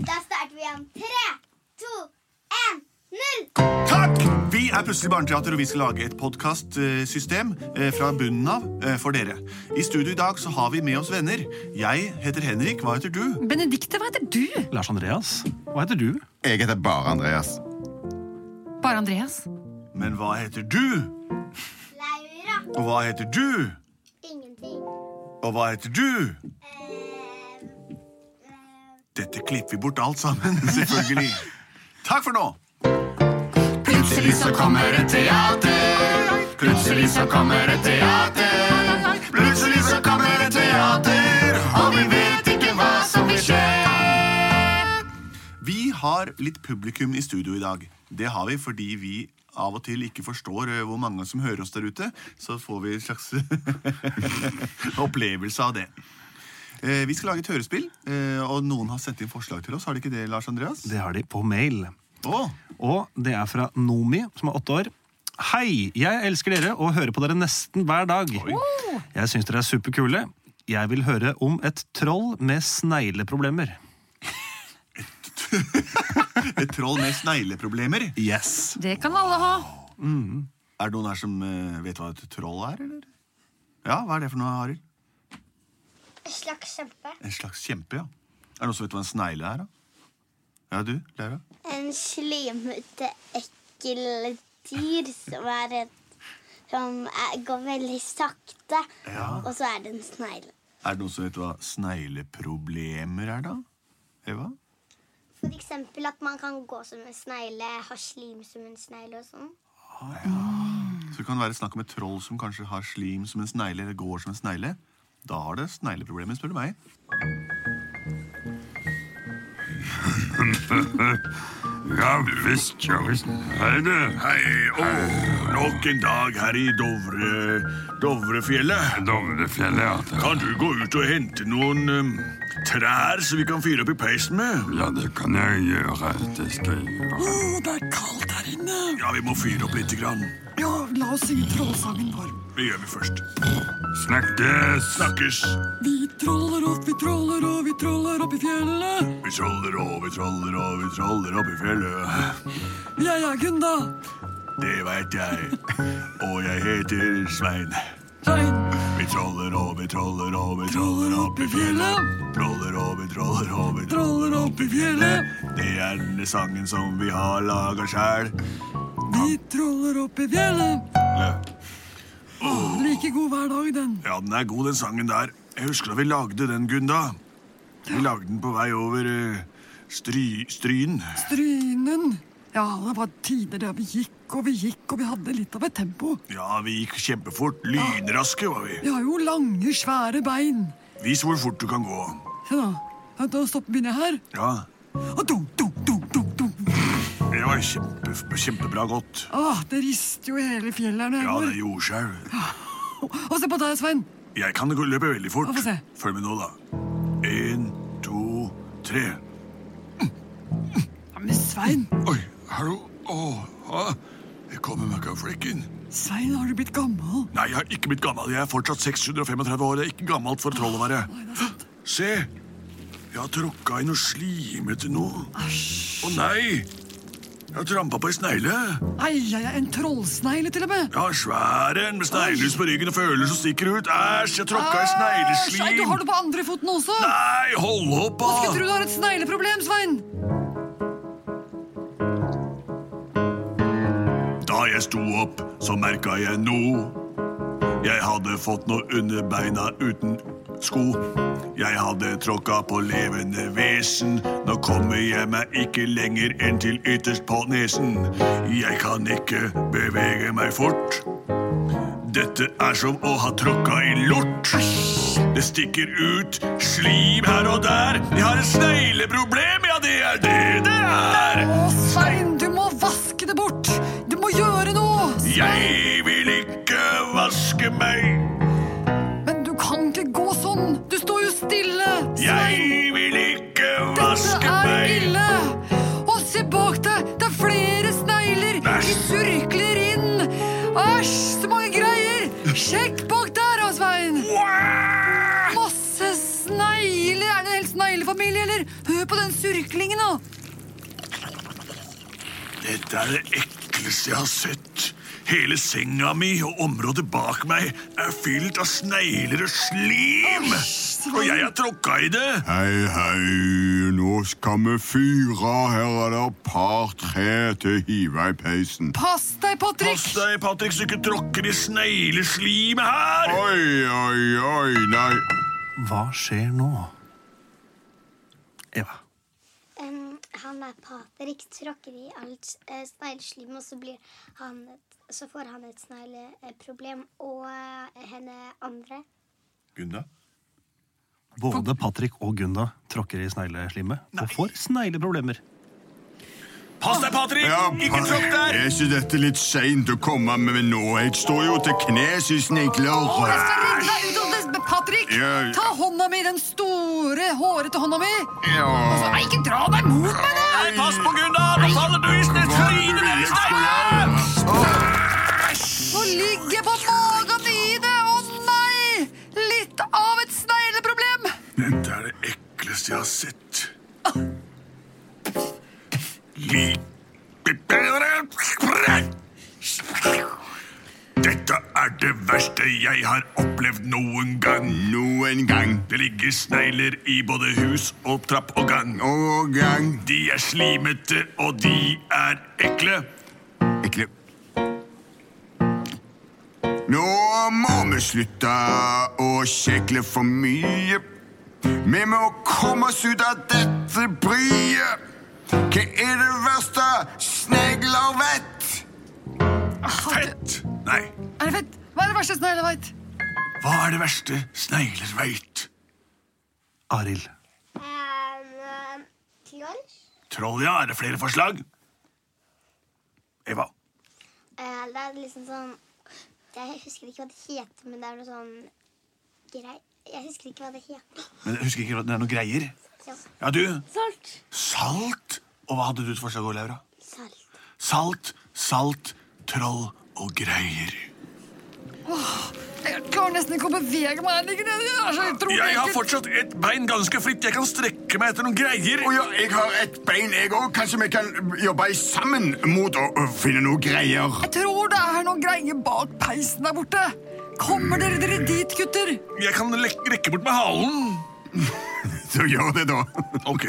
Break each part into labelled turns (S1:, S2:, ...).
S1: Da starter vi igjen. Tre, to, én, null!
S2: Takk! Vi er Plutselig barneteater, og vi skal lage et podkastsystem fra bunnen av eh, for dere. I studio i dag så har vi med oss venner. Jeg heter Henrik. Hva heter du?
S3: Benedikte, hva heter du?
S4: Lars Andreas, hva heter du?
S5: Jeg heter bare Andreas.
S3: Bare Andreas.
S2: Men hva heter du?
S1: Laura.
S2: Og hva heter du?
S1: Ingenting.
S2: Og hva heter du? Dette klipper vi bort alt sammen, selvfølgelig. Takk for nå!
S5: Plutselig så kommer et teater. Plutselig så kommer et teater. Plutselig så kommer et teater, og vi vet ikke hva som vil skje.
S2: Vi har litt publikum i studio i dag. Det har vi fordi vi av og til ikke forstår eh, hvor mange som hører oss der ute. Så får vi en slags opplevelse av det. Eh, Vi skal lage et hørespill, eh, og noen har sendt inn forslag til oss. Har de ikke det, Lars Andreas?
S4: Det har de på mail.
S2: Å,
S4: Og det er fra Nomi, som er åtte år. Hei! Jeg elsker dere og hører på dere nesten hver dag. Jeg syns dere er superkule. Jeg vil høre om et troll med snegleproblemer.
S2: et troll med snegleproblemer.
S4: Yes!
S3: Det kan alle ha.
S2: Er det noen her som eh, vet hva et troll er, eller? Ja, hva er det for noe, Arild?
S1: En slags kjempe.
S2: En slags kjempe, ja. Er det noen som vet hva en snegle er, da? Ja, du, Laura?
S1: En slimete, ekkel dyr som er et som er, går veldig sakte. Og så er det en snegle.
S2: Er det noen som vet hva snegleproblemer er, da? Eva?
S1: For eksempel at man kan gå som en snegle, ha slim som en snegle og sånn.
S2: Så det kan være snakk om et troll som kanskje har slim som en snegle, eller går som en snegle. Da har det snegleproblemer, spør du meg.
S6: Ja visst, ja visst. Hei, du.
S2: Hei, åh, nok en dag her i Dovre... Dovrefjellet.
S6: Dovrefjellet, ja. Det,
S2: du gå ut og hente noen eh, trær så vi kan fyre opp i peisen med?
S6: ja, det kan jeg gjøre. Det skal jeg gjøre.
S7: Det er kaldt her inne.
S2: Ja, vi må fyre opp lite grann.
S7: Ja, la oss si trollsangen vår.
S2: Det gjør vi først.
S6: Snakkes!
S2: Snakkes.
S7: Vi troller opp, vi troller og vi troller opp i fjellet.
S2: Vi troller og vi troller og vi troller opp i fjellet.
S7: Jeg er Gunda.
S2: Det veit jeg. Og jeg heter Svein.
S7: Svein
S2: Vi troller og vi troller og vi
S7: troller
S2: troller opp
S7: opp i fjellet.
S2: Troller og vi troller og vi
S7: Troller opp i fjellet.
S2: Det er denne sangen som vi har laga sjæl.
S7: Vi troller opp i fjellet. Åh, like god hver dag, den.
S2: Ja, den er god, den sangen der. Jeg husker da vi lagde den, Gunda. Vi lagde den på vei over eh, stry, Stryn.
S7: Strynen. Ja, det var tider der vi gikk og vi gikk og vi hadde litt av et tempo.
S2: Ja, vi gikk kjempefort. Lynraske var vi.
S7: Vi har jo lange, svære bein.
S2: Vis hvor fort du kan gå.
S7: Se nå. Vent, nå stopper begynner jeg her.
S2: Ja,
S7: Og dunk, dunk, dunk, dunk, dunk.
S2: det var kjempe, kjempebra godt.
S7: Ah, det rister jo i hele fjellet her når jeg
S2: Ja,
S7: går.
S2: det er jordskjelv.
S7: Og se på deg, Svein.
S2: Jeg kan gå- løpe veldig fort.
S7: Ja, få se.
S2: Følg med nå, da. En, to, tre.
S7: Ja, men Svein,
S2: Oi, hallo. Åh, ah, jeg kommer meg ikke av flekken.
S7: Svein, har du blitt gammel?
S2: Nei, jeg har ikke blitt gammel. Jeg er fortsatt 635 år. Det er ikke gammelt for troll å være.
S7: Nei, det er sant.
S2: Se! Jeg har tråkka i noe slimete noe. Å nei! Jeg har trampa på ei snegle.
S7: Ai, jeg er en trollsnegle til og med.
S2: Jeg har svær en med sneglehus på ryggen og føler som stikker ut. Æsj, jeg tråkka i
S7: Æsj, ai, du
S2: snegleslim.
S7: har det på andre foten også.
S2: Nei, hold opp,
S7: Jeg skulle
S2: da!
S7: tro du har et snegleproblem, Svein.
S2: Da jeg sto opp, så merka jeg noe. Jeg hadde fått noe under beina uten sko. Jeg hadde tråkka på levende vesen. Nå kommer jeg meg ikke lenger enn til ytterst på nesen. Jeg kan ikke bevege meg fort. Dette er som å ha tråkka i lort. Det stikker ut slim her og der. Jeg har et snegleproblem, ja, det er det.
S3: sånn. på den surklingen nå!
S2: Dette er det ekleste jeg har sett. Hele senga mi og området bak meg er fylt av snegler og slim! Og jeg har tråkka i det!
S5: Hei, hei, nå skal vi fyre. Her er det et par tre til å hive i peisen.
S3: Pass deg, Patrick!
S2: Pass deg, Patrick, så ikke tråkker i snegleslimet her!
S5: Oi, oi, oi, nei.
S4: Hva skjer nå? Eva.
S1: Um, han er Patrick, tråkker i alt uh, snegleslim, og så, blir han et, så får han et snegleproblem. Og eh, henne andre.
S2: Gunnar?
S4: Både Patrick og Gunda tråkker i snegleslimet og får snegleproblemer.
S2: Pass deg, Patrick! ikke tråkk
S5: Er
S2: der!
S5: ikke dette litt seint å komme med nå? Jeg står jo til knes i
S3: Å, jeg skal
S5: snegler.
S3: redde deg ut av det, Patrick!
S5: Jeg-
S3: Ta hånda mi, den store, hårete hånda mi!
S5: Ja.
S3: Nei, ikke dra deg mot meg, da!
S2: Nei, pass på Gunnar! Nå faller du i snegleslimet! ned i sneglen!
S3: Nå ligger jeg på magen i det! Å nei! Litt av et snegleproblem!
S2: Dette er det ekleste jeg har sett. Li... Dette er det verste jeg har opplevd noen gang.
S5: Noen gang.
S2: Det ligger snegler i både hus og trapp og gang.
S5: Og gang.
S2: De er slimete, og de er ekle.
S5: Ekle. Nå må vi slutte å kjekle for mye. Vi må komme oss ut av dette bryet. Hva er det verste snegler vet?
S2: Fett! Nei,
S3: Er det fett? Hva er det verste snegler veit?
S2: hva er det verste snegler veit?
S4: Arild.
S1: Um, Troll.
S2: Troll, ja. Er det flere forslag? Eva.
S1: Eh, det er liksom sånn Jeg husker ikke hva det heter, men det er noe sånn grei... Jeg husker ikke hva det heter.
S2: Men jeg husker ikke hva- det er noen greier.
S1: Ja.
S2: Ja, du.
S1: Salt.
S2: Salt? Og hva hadde du til forslag, Laura?
S1: Salt.
S2: Salt, salt, troll og greier.
S3: Jeg klarer nesten ikke å bevege meg. Jeg ligger nede. Det er så utrolig
S2: Jeg har
S3: ekkelt.
S2: fortsatt et bein ganske fritt. Jeg kan strekke meg etter noen greier.
S5: Å ja, jeg har et bein, jeg òg. Kanskje vi kan jobbe sammen mot å, å finne noen greier.
S3: Jeg tror det er noen greier bak peisen der borte. Kommer dere dere dit, gutter?
S2: Jeg kan lek- rekke bort med halen.
S5: Så gjør det, da.
S2: Ok.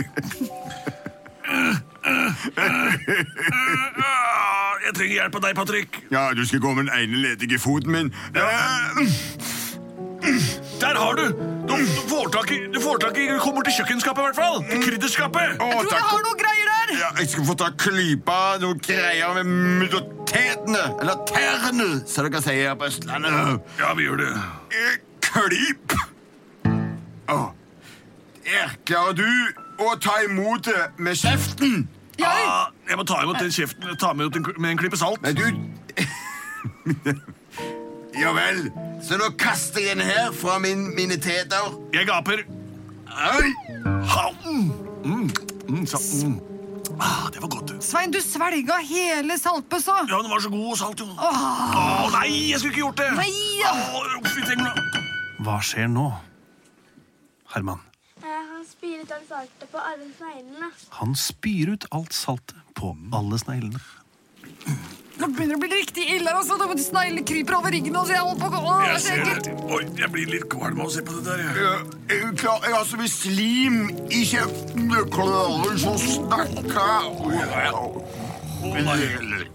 S2: Ah, Jeg trenger hjelp av deg, Patrick.
S5: Ja, du skal gå med den ene ledige foten min. Eh,
S2: Der har du! Du, du får tak i Du får tak i, du kommer til kjøkkenskapet, i hvert fall. Til Krydderskapet.
S5: å,
S3: Jeg tror jeg
S5: takk.
S3: har noen greier der.
S5: Ja, jeg skal få ta klypa noen greier med mudotetene, eller tærne, som dere sier her på Østlandet.
S2: Ja, vi gjør det.
S5: Eh, Klyp! Å, der klarer du å ta imot det med kjeften.
S3: Jeg,
S2: Ah, Jeg må ta imot den kjeften Ta imot den med en klype salt.
S5: Men du... ja vel, så nå kaster jeg den her fra min, mine teter.
S2: Jeg gaper.
S5: Oi!
S2: Ha, mm, mm, mm, sa, mm. Ah, det var godt.
S3: Svein, du svelga hele saltbøssa.
S2: Ja, den var så god og salt, jo. Åh, nei, jeg skulle ikke gjort det!
S3: Nei, ja.
S2: Åh, fy, tenk nå.
S4: Hva skjer nå? Herman.
S1: Eh, han spyr ut alt saltet på alle sneglene.
S4: Han spyr ut alt saltet på alle sneglene.
S3: Nå begynner det å bli riktig ille her. Altså. Det- Sneglene kryper over ryggen. Altså. Jeg holder på å gå. Åh, det
S2: jeg
S3: er så
S2: ser
S3: ekkelt.
S2: det. Oi, jeg blir litt kvalm av å se på det der. jeg.
S5: Jeg, jeg, klar, jeg har så mye slim i kjeften. Jeg klarer ikke å snakke.
S2: Åh, nei.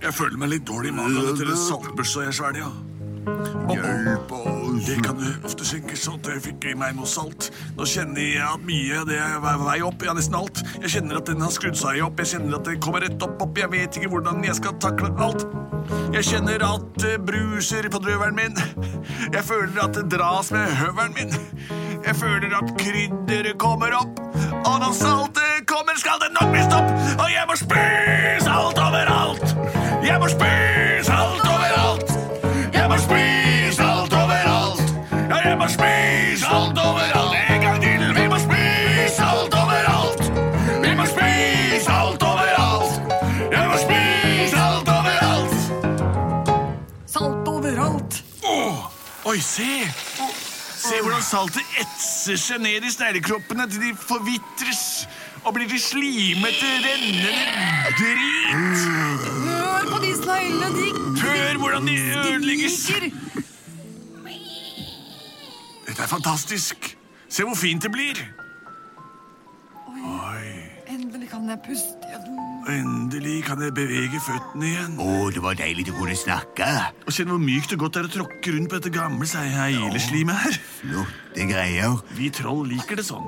S2: Jeg føler meg litt dårlig i magen etter den saltbørsa jeg svelger.
S5: Hjelp oss.
S2: Det kan jo ofte synke sånn at jeg fikk i meg noe salt. Nå kjenner jeg at mye av det er vei- vei opp, ja, nesten alt. Jeg kjenner at den har skrudd seg opp, jeg kjenner at den kommer rett opp opp, jeg vet ikke hvordan jeg skal takle alt. Jeg kjenner at det bruser på drøveren min. Jeg føler at det dras med høveren min. Jeg føler at krydderet kommer opp. Og når saltet kommer, skal det nok bli stopp. Og jeg må spise alt overalt. Jeg må spise alt overalt. Jeg må spise alt overalt. Ja, jeg må spise alt overalt. En gang til. Vi må spise alt overalt. Vi må spise alt overalt. Jeg må spise alt overalt.
S3: Salt overalt.
S2: Åh, oi, se! Se hvordan saltet etser seg ned i sneglekroppene til de forvitres. og blir til slimete, rennende drit.
S3: Hør på de sneglene, de
S2: Hør hvordan de ødelegges.
S3: gnikker.
S2: Dette er fantastisk. Se hvor fint det blir. Oi.
S3: Endelig kan jeg puste igjen.
S2: Endelig kan jeg bevege føttene igjen.
S5: Å, det var deilig du kunne snakke.
S2: Og kjenn hvor mykt og godt det er å tråkke rundt på dette gamle seileslimet her.
S5: Flotte greier.
S2: Vi troll liker det sånn.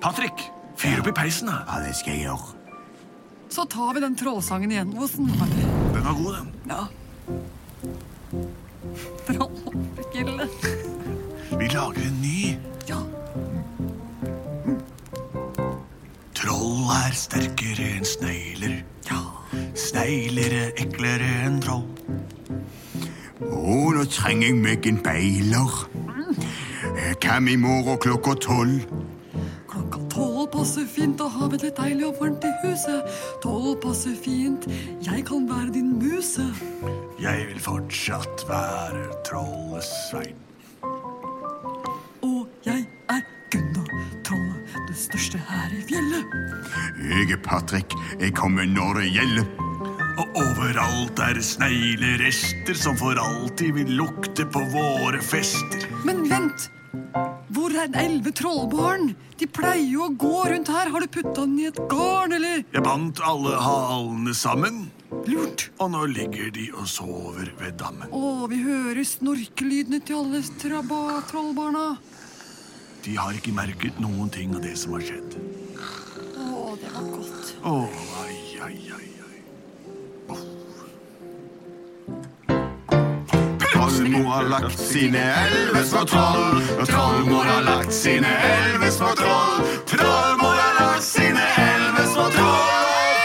S2: Patrick, fyr opp i peisen, da.
S5: Ja, det skal jeg gjøre.
S3: Så tar vi den trollsangen igjen. Åssen var det?
S2: Den var god, den.
S3: Ja. Trollpille.
S2: Vi lager en ny.
S3: Ja.
S2: Troll er sterkere enn snegler. Snegler er eklere enn troll.
S5: Å, nå trenger jeg meg en beiler. Eh, Hvem i morgen klokka tolv?
S3: Klokka tolv passer fint, og har vi det litt deilig og varmt i huset. Tolv passer fint, jeg kan være din muse.
S2: Jeg vil fortsatt være trollesvein.
S3: Og jeg er Gunnar Trollet, det største her i fjellet.
S5: Jeg er Patrick. Jeg kommer når det gjelder.
S2: Og overalt er sneglerester som for alltid vil lukte på våre fester.
S3: Men vent! Hvor er de elleve trollbarn? De pleier jo å gå rundt her. Har du putta den i et garn, eller?
S2: Jeg bandt alle halene sammen,
S3: Lurt.
S2: og nå ligger de og sover ved dammen.
S3: Å, vi hører snorkelydene til alle traba trollbarna.
S2: De har ikke merket noen ting av det som har skjedd.
S3: Å, det var godt.
S2: Åh, ai, ai, ai, ai.
S5: Trollmor har lagt sine elleve små troll. Trollmor har lagt sine elleve små troll. Trollmor har lagt sine elleve små troll.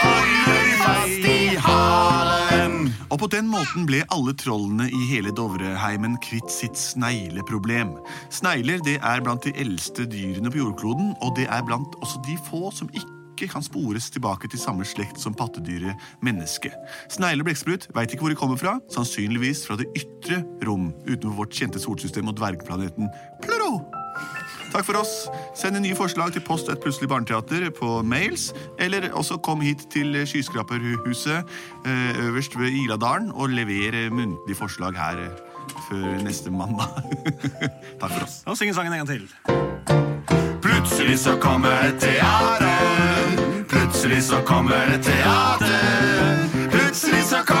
S5: Holder de fast i halen.
S2: Og på den måten ble alle trollene i hele Dovreheimen kvitt sitt snegleproblem. Snegler det er blant de eldste dyrene på jordkloden, og det er blant også de få som ikke kan spores tilbake til samme slekt som pattedyret menneske. Snegler og blekksprut veit ikke hvor de kommer fra, sannsynligvis fra det ytre rom utenfor vårt kjente solsystem og dvergplaneten Pluro. Takk for oss. Send nye forslag til post et plutselig barneteater på mails, eller også kom hit til Skyskraperhuset eh, øverst ved Iladalen og lever muntlig forslag her eh, før neste mandag. Takk for oss.
S4: Og synge sangen en gang til.
S2: Plutselig så kommer et teater. Plutselig så kommer et teater. Plutselig så kommer